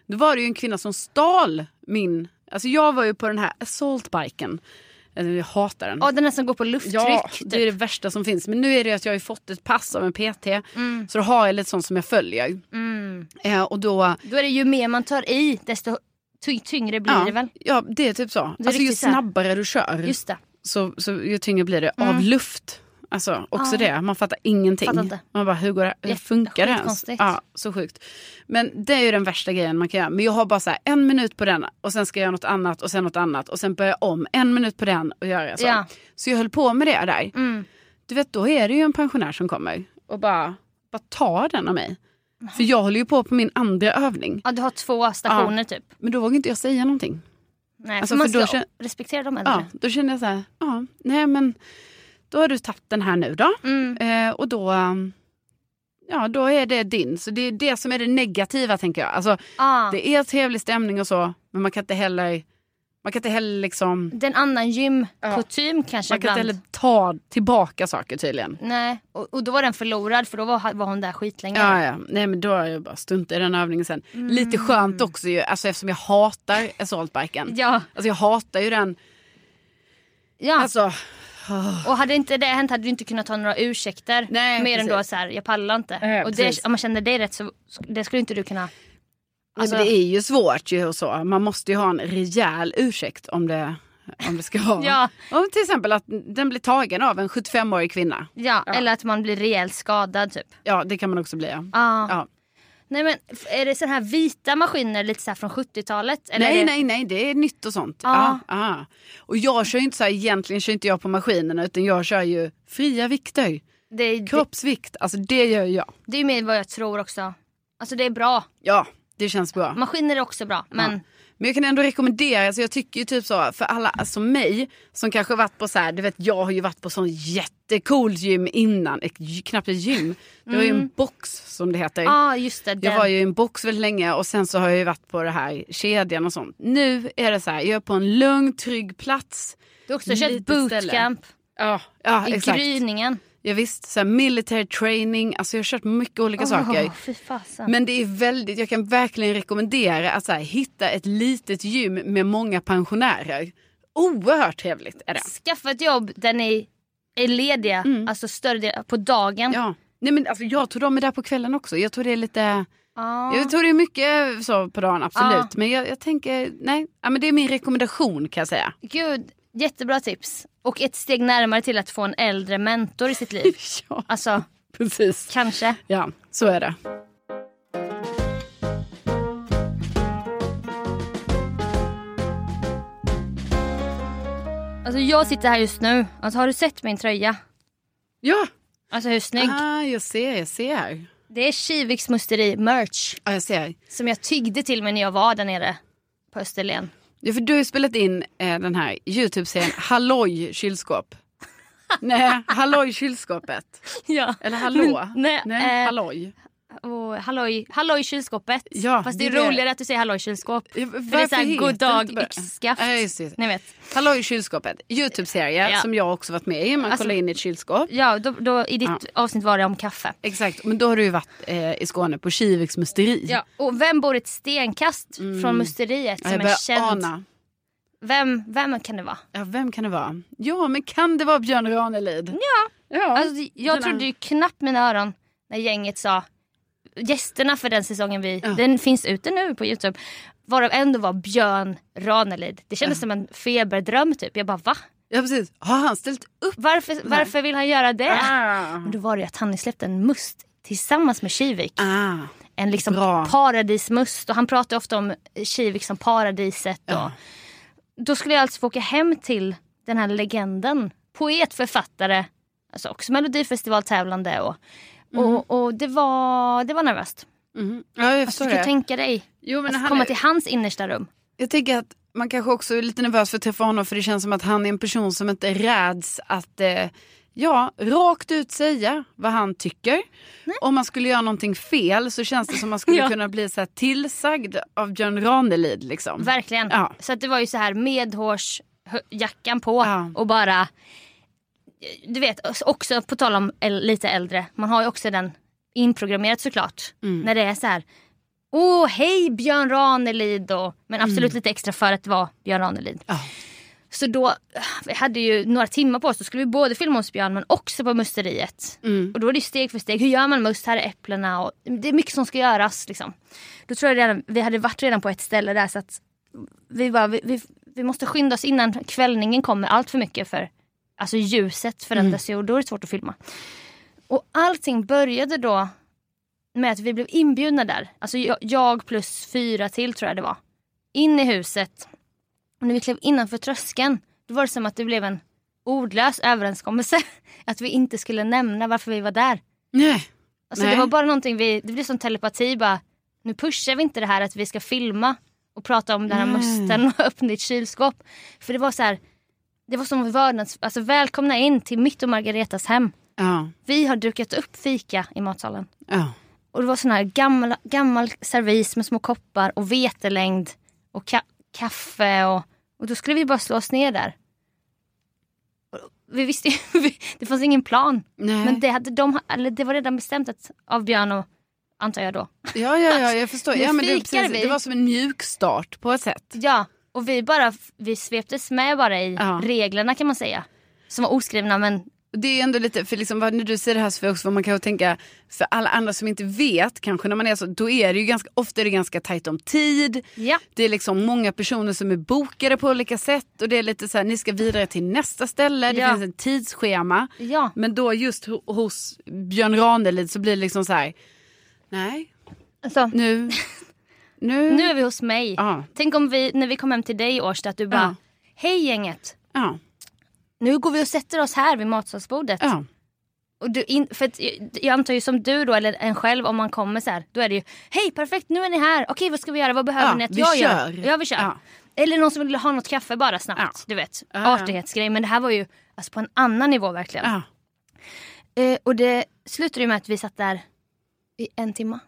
Speaker 1: Då var det ju en kvinna som stal min, alltså jag var ju på den här assaultbiken. Alltså, Jag hatar den.
Speaker 2: Ja, den här som går på lufttryck.
Speaker 1: Ja,
Speaker 2: typ.
Speaker 1: det är det värsta som finns. Men nu är det att jag har ju fått ett pass av en PT. Så då har jag lite sånt som jag följer.
Speaker 2: mm.
Speaker 1: Eh, och då,
Speaker 2: Då är det ju mer man tar i desto ty- tyngre blir
Speaker 1: ja,
Speaker 2: det väl?
Speaker 1: ja, det är typ så.
Speaker 2: Det är
Speaker 1: alltså ju
Speaker 2: riktigt så här.
Speaker 1: snabbare du kör
Speaker 2: Just det.
Speaker 1: så, så ju tyngre blir det av luft. Alltså också
Speaker 2: Mm. Ja.
Speaker 1: det, man fattar ingenting.
Speaker 2: Fattar inte.
Speaker 1: Man bara, hur, går det, hur
Speaker 2: Jätte-
Speaker 1: funkar det ens?
Speaker 2: skitkonstigt.
Speaker 1: Ja, så sjukt. Men det är ju den värsta grejen man kan göra. Men jag har bara så här, en minut på den och sen ska jag göra något annat och sen något annat och sen börja om en minut på den och göra så.
Speaker 2: Ja.
Speaker 1: Så jag höll på med det där.
Speaker 2: Mm.
Speaker 1: Du vet, då är det ju en pensionär som kommer och bara, bara tar den av mig. För jag håller ju på på min andra övning.
Speaker 2: Ja, du har två stationer typ.
Speaker 1: Men då vågar inte jag säga någonting.
Speaker 2: Nej,
Speaker 1: Alltså,
Speaker 2: för man
Speaker 1: för då
Speaker 2: ska
Speaker 1: kän-
Speaker 2: respektera de äldre.
Speaker 1: Ja, då kände jag så här, ja, nej men då har du tagit den här nu då.
Speaker 2: Mm.
Speaker 1: Eh, och då, um, ja, då är det din. Så det är det som är det negativa tänker jag. Alltså,
Speaker 2: Ja.
Speaker 1: Det är trevlig stämning och så, men man kan inte heller Man kan inte heller liksom...
Speaker 2: Det är en annan gymkutym kanske
Speaker 1: Man kan inte
Speaker 2: ibland.
Speaker 1: heller ta tillbaka saker tydligen.
Speaker 2: Nej, och, och då var den förlorad för då var, var hon där skitlänge.
Speaker 1: Ja, ja. Nej, men då har jag bara stuntat i den övningen sen.
Speaker 2: Mm.
Speaker 1: Lite skönt också ju, alltså, eftersom jag hatar assaultbiken.
Speaker 2: ja.
Speaker 1: Alltså jag hatar ju den.
Speaker 2: ja.
Speaker 1: Alltså,
Speaker 2: Och hade inte det hänt hade du inte kunnat ta några ursäkter.
Speaker 1: Nej,
Speaker 2: mer
Speaker 1: precis.
Speaker 2: än då så här, jag pallar inte.
Speaker 1: Nej,
Speaker 2: och
Speaker 1: precis.
Speaker 2: det, om man känner dig rätt så det skulle inte du kunna. Alltså-
Speaker 1: Nej, men det är ju svårt ju och så. Man måste ju ha en rejäl ursäkt om det, om det ska vara.
Speaker 2: Ja.
Speaker 1: Om till exempel att den blir tagen av en 75-årig kvinna.
Speaker 2: Ja, Eller att man blir rejält skadad typ.
Speaker 1: Ja, det kan man också bli. Ja.
Speaker 2: Ah.
Speaker 1: Ja.
Speaker 2: Nej men f- är det sådana här vita maskiner lite så här från 70-talet? Eller är
Speaker 1: Nej,
Speaker 2: det...
Speaker 1: nej, nej, det är nytt och sånt.
Speaker 2: Ja.
Speaker 1: Ja, aha. Och jag kör ju inte så här, egentligen kör inte jag på maskinerna utan jag kör ju fria vikter.
Speaker 2: Det, är- det,
Speaker 1: Kroppsvikt, alltså det gör jag.
Speaker 2: det är mer vad jag tror också. Alltså det är bra.
Speaker 1: Ja, det känns bra.
Speaker 2: Maskiner är också bra. Men
Speaker 1: Ja. Men jag kan ändå rekommendera, alltså jag tycker ju typ så för alla som alltså mig som kanske varit på så här, du vet jag har ju varit på sån jättecool gym innan, ett, gy- knappt ett gym. Det var ju en box som det heter.
Speaker 2: Mm. ja ah, just det.
Speaker 1: Jag
Speaker 2: Den.
Speaker 1: var ju i en box väldigt länge och sen så har jag ju varit på det här kedjan och sånt. Nu är det så här, jag är på en lugn trygg plats.
Speaker 2: Du har också kört
Speaker 1: lite ställe.
Speaker 2: bootcamp
Speaker 1: Ja, ja
Speaker 2: i
Speaker 1: exakt.
Speaker 2: gryningen.
Speaker 1: Jag visst, så här military training, alltså jag har kört mycket olika saker.
Speaker 2: Åh, fy fasen.
Speaker 1: Men det är väldigt, jag kan verkligen rekommendera att så här, hitta ett litet gym med många pensionärer. Oerhört trevligt är det.
Speaker 2: Skaffa ett jobb där ni är lediga, alltså större del, på dagen.
Speaker 1: Mm. Ja. Nej, men alltså, jag tror de är där på kvällen också. Jag tror det är lite,
Speaker 2: Ah.
Speaker 1: jag tror det är mycket så på dagen absolut.
Speaker 2: Ja.
Speaker 1: Men jag, jag tänker, nej, ja, men det är min rekommendation kan jag
Speaker 2: [LAUGHS]
Speaker 1: säga.
Speaker 2: Gud, jättebra tips. Och ett steg närmare till att få en äldre mentor i
Speaker 1: [LAUGHS]
Speaker 2: sitt liv.
Speaker 1: Ja,
Speaker 2: Alltså,
Speaker 1: [LAUGHS] precis.
Speaker 2: kanske.
Speaker 1: Ja, så är det.
Speaker 2: Alltså jag sitter här just nu. Alltså har du sett min tröja?
Speaker 1: Ja,
Speaker 2: Alltså hur snygg?
Speaker 1: ah, jag ser, jag ser.
Speaker 2: Det är Kiviks musteri merch.
Speaker 1: Ja, jag ser.
Speaker 2: Som jag tyggde till mig när jag var där nere
Speaker 1: [LAUGHS]
Speaker 2: på Österlen.
Speaker 1: Ja, för du har ju spelat in eh, den här
Speaker 2: [LAUGHS]
Speaker 1: Youtube-serien Halloj kylskåp. Nej, Halloj kylskåpet.
Speaker 2: Ja.
Speaker 1: Eller hallå?
Speaker 2: Men- nej,
Speaker 1: nej
Speaker 2: eh,
Speaker 1: halloj.
Speaker 2: Och halloj, halloj kylskåpet.
Speaker 1: Ja,
Speaker 2: Fast det är
Speaker 1: det är det.
Speaker 2: roligare att du säger halloj kylskåp.
Speaker 1: Ja,
Speaker 2: För det är
Speaker 1: varför
Speaker 2: såhär
Speaker 1: heter
Speaker 2: god dag
Speaker 1: inte bara-
Speaker 2: yxskaft.
Speaker 1: Ja, just det.
Speaker 2: Ni vet.
Speaker 1: Halloj kylskåpet, Youtube-serie
Speaker 2: Ja.
Speaker 1: som jag också varit med i. Man
Speaker 2: Alltså-
Speaker 1: kollar in i ett kylskåp.
Speaker 2: Ja, då, då, i ditt
Speaker 1: Ja.
Speaker 2: avsnitt var det om kaffe.
Speaker 1: Exakt, men då har du ju varit eh, i Skåne på Kiviks musteri.
Speaker 2: Ja, och vem bor ett stenkast från musteriet
Speaker 1: Mm. Ja,
Speaker 2: som
Speaker 1: jag
Speaker 2: är
Speaker 1: börjar
Speaker 2: känd?
Speaker 1: ana.
Speaker 2: Vem, vem kan det vara?
Speaker 1: Ja, vem kan det vara? Ja, men kan det vara Björn Ranelid?
Speaker 2: Ja.
Speaker 1: ja.
Speaker 2: Alltså, jag
Speaker 1: Den
Speaker 2: trodde ju knappt mina öron när gänget sa gästerna för den säsongen vi,
Speaker 1: Ja.
Speaker 2: den finns ute nu på Youtube. Varav en då var Björn Ranelid. Det kändes som en feberdröm typ. Jag bara va?
Speaker 1: ja, precis. Har han ställt upp?
Speaker 2: Varför, varför vill han göra det?
Speaker 1: Ah.
Speaker 2: Men då var det ju att han släppte en must tillsammans med Kivik.
Speaker 1: Ah.
Speaker 2: En liksom
Speaker 1: Bra.
Speaker 2: paradismust. Och han pratar ofta om Kivik som paradiset. Och, då skulle jag alltså få åka hem till den här legenden. Poet, författare, alltså också melodifestivaltävlande. Och,
Speaker 1: Mm.
Speaker 2: och, och det, var, det var nervöst.
Speaker 1: Mhm. Ja, jag förstår
Speaker 2: Så Alltså, du kan
Speaker 1: det.
Speaker 2: tänka dig
Speaker 1: Jo, men
Speaker 2: att
Speaker 1: han
Speaker 2: komma
Speaker 1: är-
Speaker 2: till hans innersta rum.
Speaker 1: Jag tänker att man kanske också är lite nervös för att träffa honom för det känns som att han är en person som inte räds att eh, ja, rakt ut säga vad han tycker. Om man skulle göra någonting fel så känns det som man skulle
Speaker 2: [LAUGHS] Ja.
Speaker 1: kunna bli så här tillsagd av Björn Ranelid. Liksom.
Speaker 2: Verkligen.
Speaker 1: Ja.
Speaker 2: Så att det var ju så här medhårsjackan på
Speaker 1: Ja.
Speaker 2: och bara... Du vet, också på tal om äl- lite äldre, man har ju också den inprogrammerat såklart.
Speaker 1: Mm,
Speaker 2: När det är så här, åh hej Björn Ranelid och, men absolut lite extra för att vara Björn Ranelid.
Speaker 1: Ja.
Speaker 2: Så då, vi hade ju några timmar på oss, då skulle vi både filma hos Björn men också på musteriet.
Speaker 1: Mm.
Speaker 2: Och då är det ju steg för steg, hur gör man must, här är äpplena och det är mycket som ska göras liksom. Då tror jag redan, vi hade varit redan på ett ställe där så att vi bara, vi, vi, vi måste skynda oss innan kvällningen kommer allt för mycket för alltså ljuset förändras ju och då är det svårt att filma. Och allting började då med att vi blev inbjudna där. Alltså jag, jag plus fyra till tror jag det var. In i huset. Och när vi klev innanför tröskeln då var det som att det blev en ordlös överenskommelse. [LAUGHS] Att vi inte skulle nämna varför vi var där.
Speaker 1: Nej.
Speaker 2: Alltså
Speaker 1: Nej.
Speaker 2: det var bara någonting vi, det blev som telepati bara. Nu pushar vi inte det här att vi ska filma och prata om den här
Speaker 1: Nej.
Speaker 2: musten och [LAUGHS] öppna ett kylskåp. För det var så här, det var som vördnads, alltså välkomna in till mitt och Margaretas hem.
Speaker 1: Ja.
Speaker 2: Vi har dukat upp fika i matsalen.
Speaker 1: Ja.
Speaker 2: Och det var sån här gammal, gammal servis med små koppar och vetelängd och ka- kaffe och Och då skulle vi bara slå oss ner där. Och Vi visste ju, [LAUGHS] det fanns ingen plan.
Speaker 1: Nej.
Speaker 2: Men det, hade de, eller det var redan bestämt att, av Björn och, antar jag då.
Speaker 1: Ja, ja, ja, jag förstår.
Speaker 2: Nu
Speaker 1: Ja, men det,
Speaker 2: fikar
Speaker 1: precis,
Speaker 2: vi.
Speaker 1: det var som en mjuk start på ett sätt.
Speaker 2: Ja, och vi bara, vi sveptes med bara i
Speaker 1: Ja.
Speaker 2: reglerna kan man säga. Som var oskrivna men
Speaker 1: Det är ändå lite, för liksom, vad- när du säger det här så får jag också vad man kan tänka, för alla andra som inte vet kanske när man är så, då är det ju ganska, ofta är det ganska tajt om tid.
Speaker 2: ja.
Speaker 1: Det är liksom många personer som är bokade på olika sätt och det är lite så här, ni ska vidare till nästa ställe, det
Speaker 2: Ja.
Speaker 1: finns en tidsschema.
Speaker 2: Ja.
Speaker 1: Men då just ho- hos Björn Ranelid så blir det liksom så här, nej,
Speaker 2: Alltså, [LAUGHS]
Speaker 1: nu, nu,
Speaker 2: nu är vi hos mig.
Speaker 1: Mm. Ja.
Speaker 2: Tänk om vi, när vi kom hem till dig Årsta, att du
Speaker 1: Ja.
Speaker 2: bara, hej gänget.
Speaker 1: ja,
Speaker 2: Nu går vi och sätter oss här vid matsalsbordet.
Speaker 1: ja,
Speaker 2: Och du in, för att, jag antar ju som du då, eller en själv om man kommer så här, då är det ju hej perfekt nu är ni här, okej vad ska vi göra, vad behöver
Speaker 1: Ja,
Speaker 2: ni att
Speaker 1: vi
Speaker 2: jag
Speaker 1: kör.
Speaker 2: gör? Ja vi kör.
Speaker 1: Ja.
Speaker 2: Eller någon som vill ha något kaffe bara snabbt,
Speaker 1: Ja.
Speaker 2: du vet.
Speaker 1: Ja, ja.
Speaker 2: Artighetsgrej, men det här var ju alltså, på en annan nivå verkligen.
Speaker 1: ja.
Speaker 2: Eh, och det slutade ju med att vi satt där i en timme.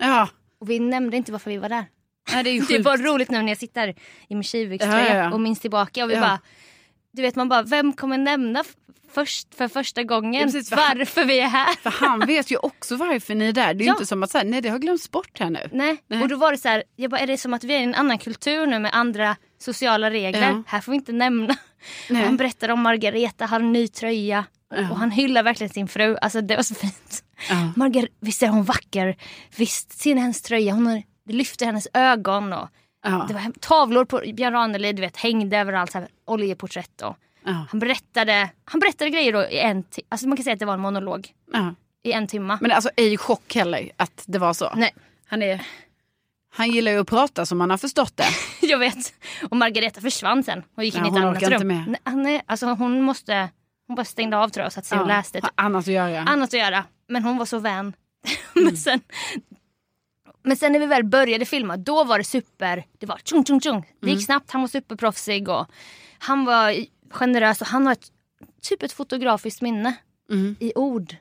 Speaker 1: ja.
Speaker 2: Och vi nämnde inte varför vi
Speaker 1: [LAUGHS]
Speaker 2: var där.
Speaker 1: Nej, det är ju
Speaker 2: Det är
Speaker 1: sjukt.
Speaker 2: bara roligt nu när jag sitter i min Kiviks-tröja
Speaker 1: Ja, ja, ja.
Speaker 2: och minns tillbaka och vi
Speaker 1: Ja.
Speaker 2: bara... Du vet man bara, vem kommer nämna f- först för första gången
Speaker 1: Ja, precis, för-
Speaker 2: varför vi är här?
Speaker 1: För han vet ju också varför ni är där. Det är ju
Speaker 2: Ja.
Speaker 1: inte som att säga, nej det har glömts bort här nu.
Speaker 2: Nej.
Speaker 1: [LAUGHS] Nej.
Speaker 2: Och då var det så här, jag bara, är det som att vi är i en annan kultur nu med andra sociala regler?
Speaker 1: Ja.
Speaker 2: Här får vi inte nämna.
Speaker 1: Nej.
Speaker 2: Han berättar om Margareta, har en ny tröja. Och han hyllar verkligen sin fru. Alltså det var så fint.
Speaker 1: Ja.
Speaker 2: Margar visst är hon vacker? Visst, ser ni hennes tröja? Hon har, det lyfter hennes ögon. Och,
Speaker 1: Ja.
Speaker 2: Det var hem- tavlor på Björn Ranelid, du vet, hängde överallt. Så här, oljeporträtt och.
Speaker 1: Ja.
Speaker 2: Han berättade, han berättade grejer då i en ti- Alltså man kan säga att det var en monolog
Speaker 1: Ja.
Speaker 2: i en timma.
Speaker 1: Men alltså ej chock heller att det var så.
Speaker 2: Nej,
Speaker 1: Han, är, han gillar ju att prata som han har förstått det.
Speaker 2: [LAUGHS] jag vet. Och Margareta försvann sen. Hon gick in
Speaker 1: Ja,
Speaker 2: i ett
Speaker 1: hon
Speaker 2: annat
Speaker 1: orkar
Speaker 2: rum.
Speaker 1: inte med.
Speaker 2: Nej, han är, alltså hon måste, hon bara stängde av tror jag och satte sig och läste.
Speaker 1: Har annat att göra.
Speaker 2: annat att göra. Men hon var så vän. [LAUGHS] men, sen, men sen när vi väl började filma, då var det super... Det var tjong tjong tjong. Det gick snabbt, han var superproffsig och han var generös och han har ett, typ ett fotografiskt minne
Speaker 1: Mm.
Speaker 2: i ord.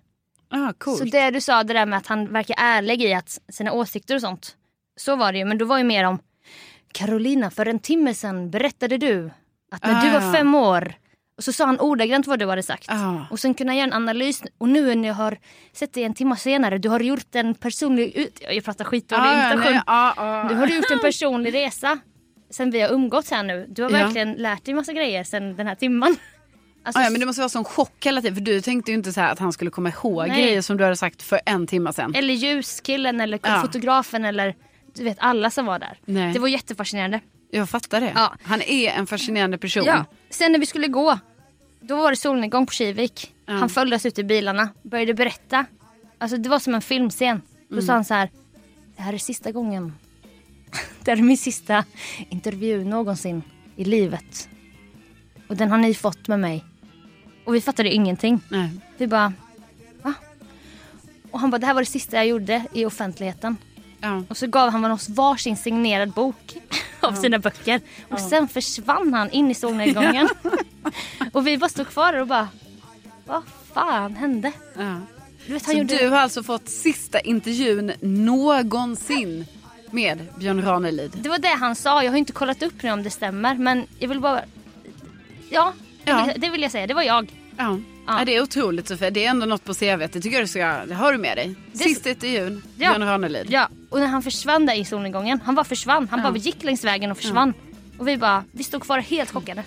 Speaker 1: Ja, coolt.
Speaker 2: Så det du sa, det där med att han verkar ärlig i att sina åsikter och sånt. Så var det ju, men då var ju mer om Carolina, för en timme sedan berättade du att när du
Speaker 1: Ah. Ah.
Speaker 2: var fem år och så sa han ordagrant vad du hade sagt.
Speaker 1: Ja.
Speaker 2: Och sen kunna göra en analys och nu när jag har sett dig en timme senare, du har gjort en personlig... Ut- jag pratar skitdålig
Speaker 1: Ja, ja,
Speaker 2: imitation.
Speaker 1: Ah, nej, ja, ja.
Speaker 2: Du har
Speaker 1: [LAUGHS]
Speaker 2: gjort en personlig resa sen vi har umgåtts här nu. Du har
Speaker 1: Ja. Ah,
Speaker 2: verkligen lärt dig massa grejer sen den här timman. Alltså,
Speaker 1: Ja, ja, men det måste vara sån chock hela tiden. För du tänkte ju inte så här att han skulle komma ihåg
Speaker 2: Nej.
Speaker 1: grejer som du hade sagt för en timme sedan.
Speaker 2: Eller ljuskillen eller
Speaker 1: Ja.
Speaker 2: fotografen eller du vet alla som var där.
Speaker 1: Nej.
Speaker 2: Det var jättefascinerande.
Speaker 1: Jag fattar det.
Speaker 2: Ja.
Speaker 1: Han är en fascinerande person.
Speaker 2: Ja. Sen när vi skulle gå, då var det solnedgång på Kivik. Han följde oss ut i bilarna, började berätta. Alltså det var som en filmscen. Då
Speaker 1: Mm.
Speaker 2: sa han så här, det här är sista gången. [LAUGHS] det här är min sista intervju någonsin i livet. Och den har ni fått med mig. Och vi fattade ingenting.
Speaker 1: Nej.
Speaker 2: Vi bara, va? Och han bara, det här var det sista jag gjorde i offentligheten.
Speaker 1: Ja.
Speaker 2: Och så gav han oss varsin signerad bok [LAUGHS] av sina böcker. Och sen försvann han in
Speaker 1: [LAUGHS]
Speaker 2: i solnedgången. [LAUGHS] och vi bara stod kvar där och bara, vad fan hände?
Speaker 1: Ja.
Speaker 2: Du vet, han
Speaker 1: Så
Speaker 2: gjorde...
Speaker 1: du har alltså fått sista intervjun någonsin med Björn Ranelid?
Speaker 2: Det var det han sa, jag har inte kollat upp nu om det stämmer. Men jag vill bara, ja,
Speaker 1: Ja.
Speaker 2: Det, vill, det vill jag säga, det var jag.
Speaker 1: Ja.
Speaker 2: Ja.
Speaker 1: Ja, det är otroligt Sofia. Det är ändå något på CV. Det tycker jag du ska... Det har du med dig.
Speaker 2: Det-
Speaker 1: Sista intervjun,
Speaker 2: Ja.
Speaker 1: Björn Ranelid.
Speaker 2: Ja, och när han försvann där i solnedgången, han bara försvann. Han bara gick längs vägen och försvann. Och vi bara, vi stod kvar helt chockade.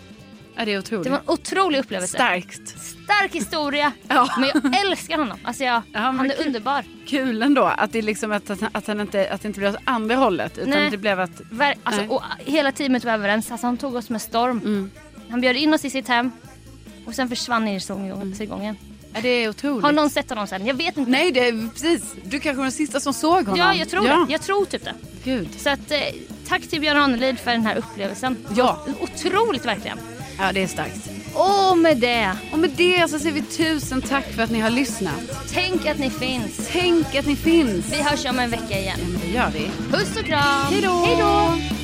Speaker 1: Ja, det är otroligt.
Speaker 2: Det var en otrolig upplevelse.
Speaker 1: Starkt.
Speaker 2: Stark historia.
Speaker 1: Ja.
Speaker 2: Men jag älskar honom. Alltså jag,
Speaker 1: Ja, men
Speaker 2: han är
Speaker 1: kul.
Speaker 2: underbar.
Speaker 1: Kul ändå att det, liksom, att, att, att han inte, att det inte blev åt andra hållet. Utan
Speaker 2: Nej.
Speaker 1: det blev att...
Speaker 2: Ver- alltså,
Speaker 1: Nej.
Speaker 2: och hela teamet var överens. Alltså, han tog oss med storm.
Speaker 1: Mm.
Speaker 2: Han bjöd in oss i sitt hem och sen försvann han i solnedgången.
Speaker 1: Ja, det är Mm. otroligt.
Speaker 2: Har någon sett honom sen? Jag vet inte.
Speaker 1: Nej, det är, precis. Du kanske var den sista som såg honom.
Speaker 2: Ja, jag tror
Speaker 1: ja.
Speaker 2: det. Jag tror typ det.
Speaker 1: Gud.
Speaker 2: Så att, eh, tack till Björn Ranelid för den här upplevelsen.
Speaker 1: Ja.
Speaker 2: Otroligt verkligen.
Speaker 1: ja, det är starkt.
Speaker 2: Och med det,
Speaker 1: Och med det så säger vi tusen tack för att ni har lyssnat.
Speaker 2: tänk att ni finns.
Speaker 1: Tänk att ni finns.
Speaker 2: Vi hörs om en vecka igen.
Speaker 1: Ja, men det gör vi.
Speaker 2: Puss och kram!
Speaker 1: Hej då!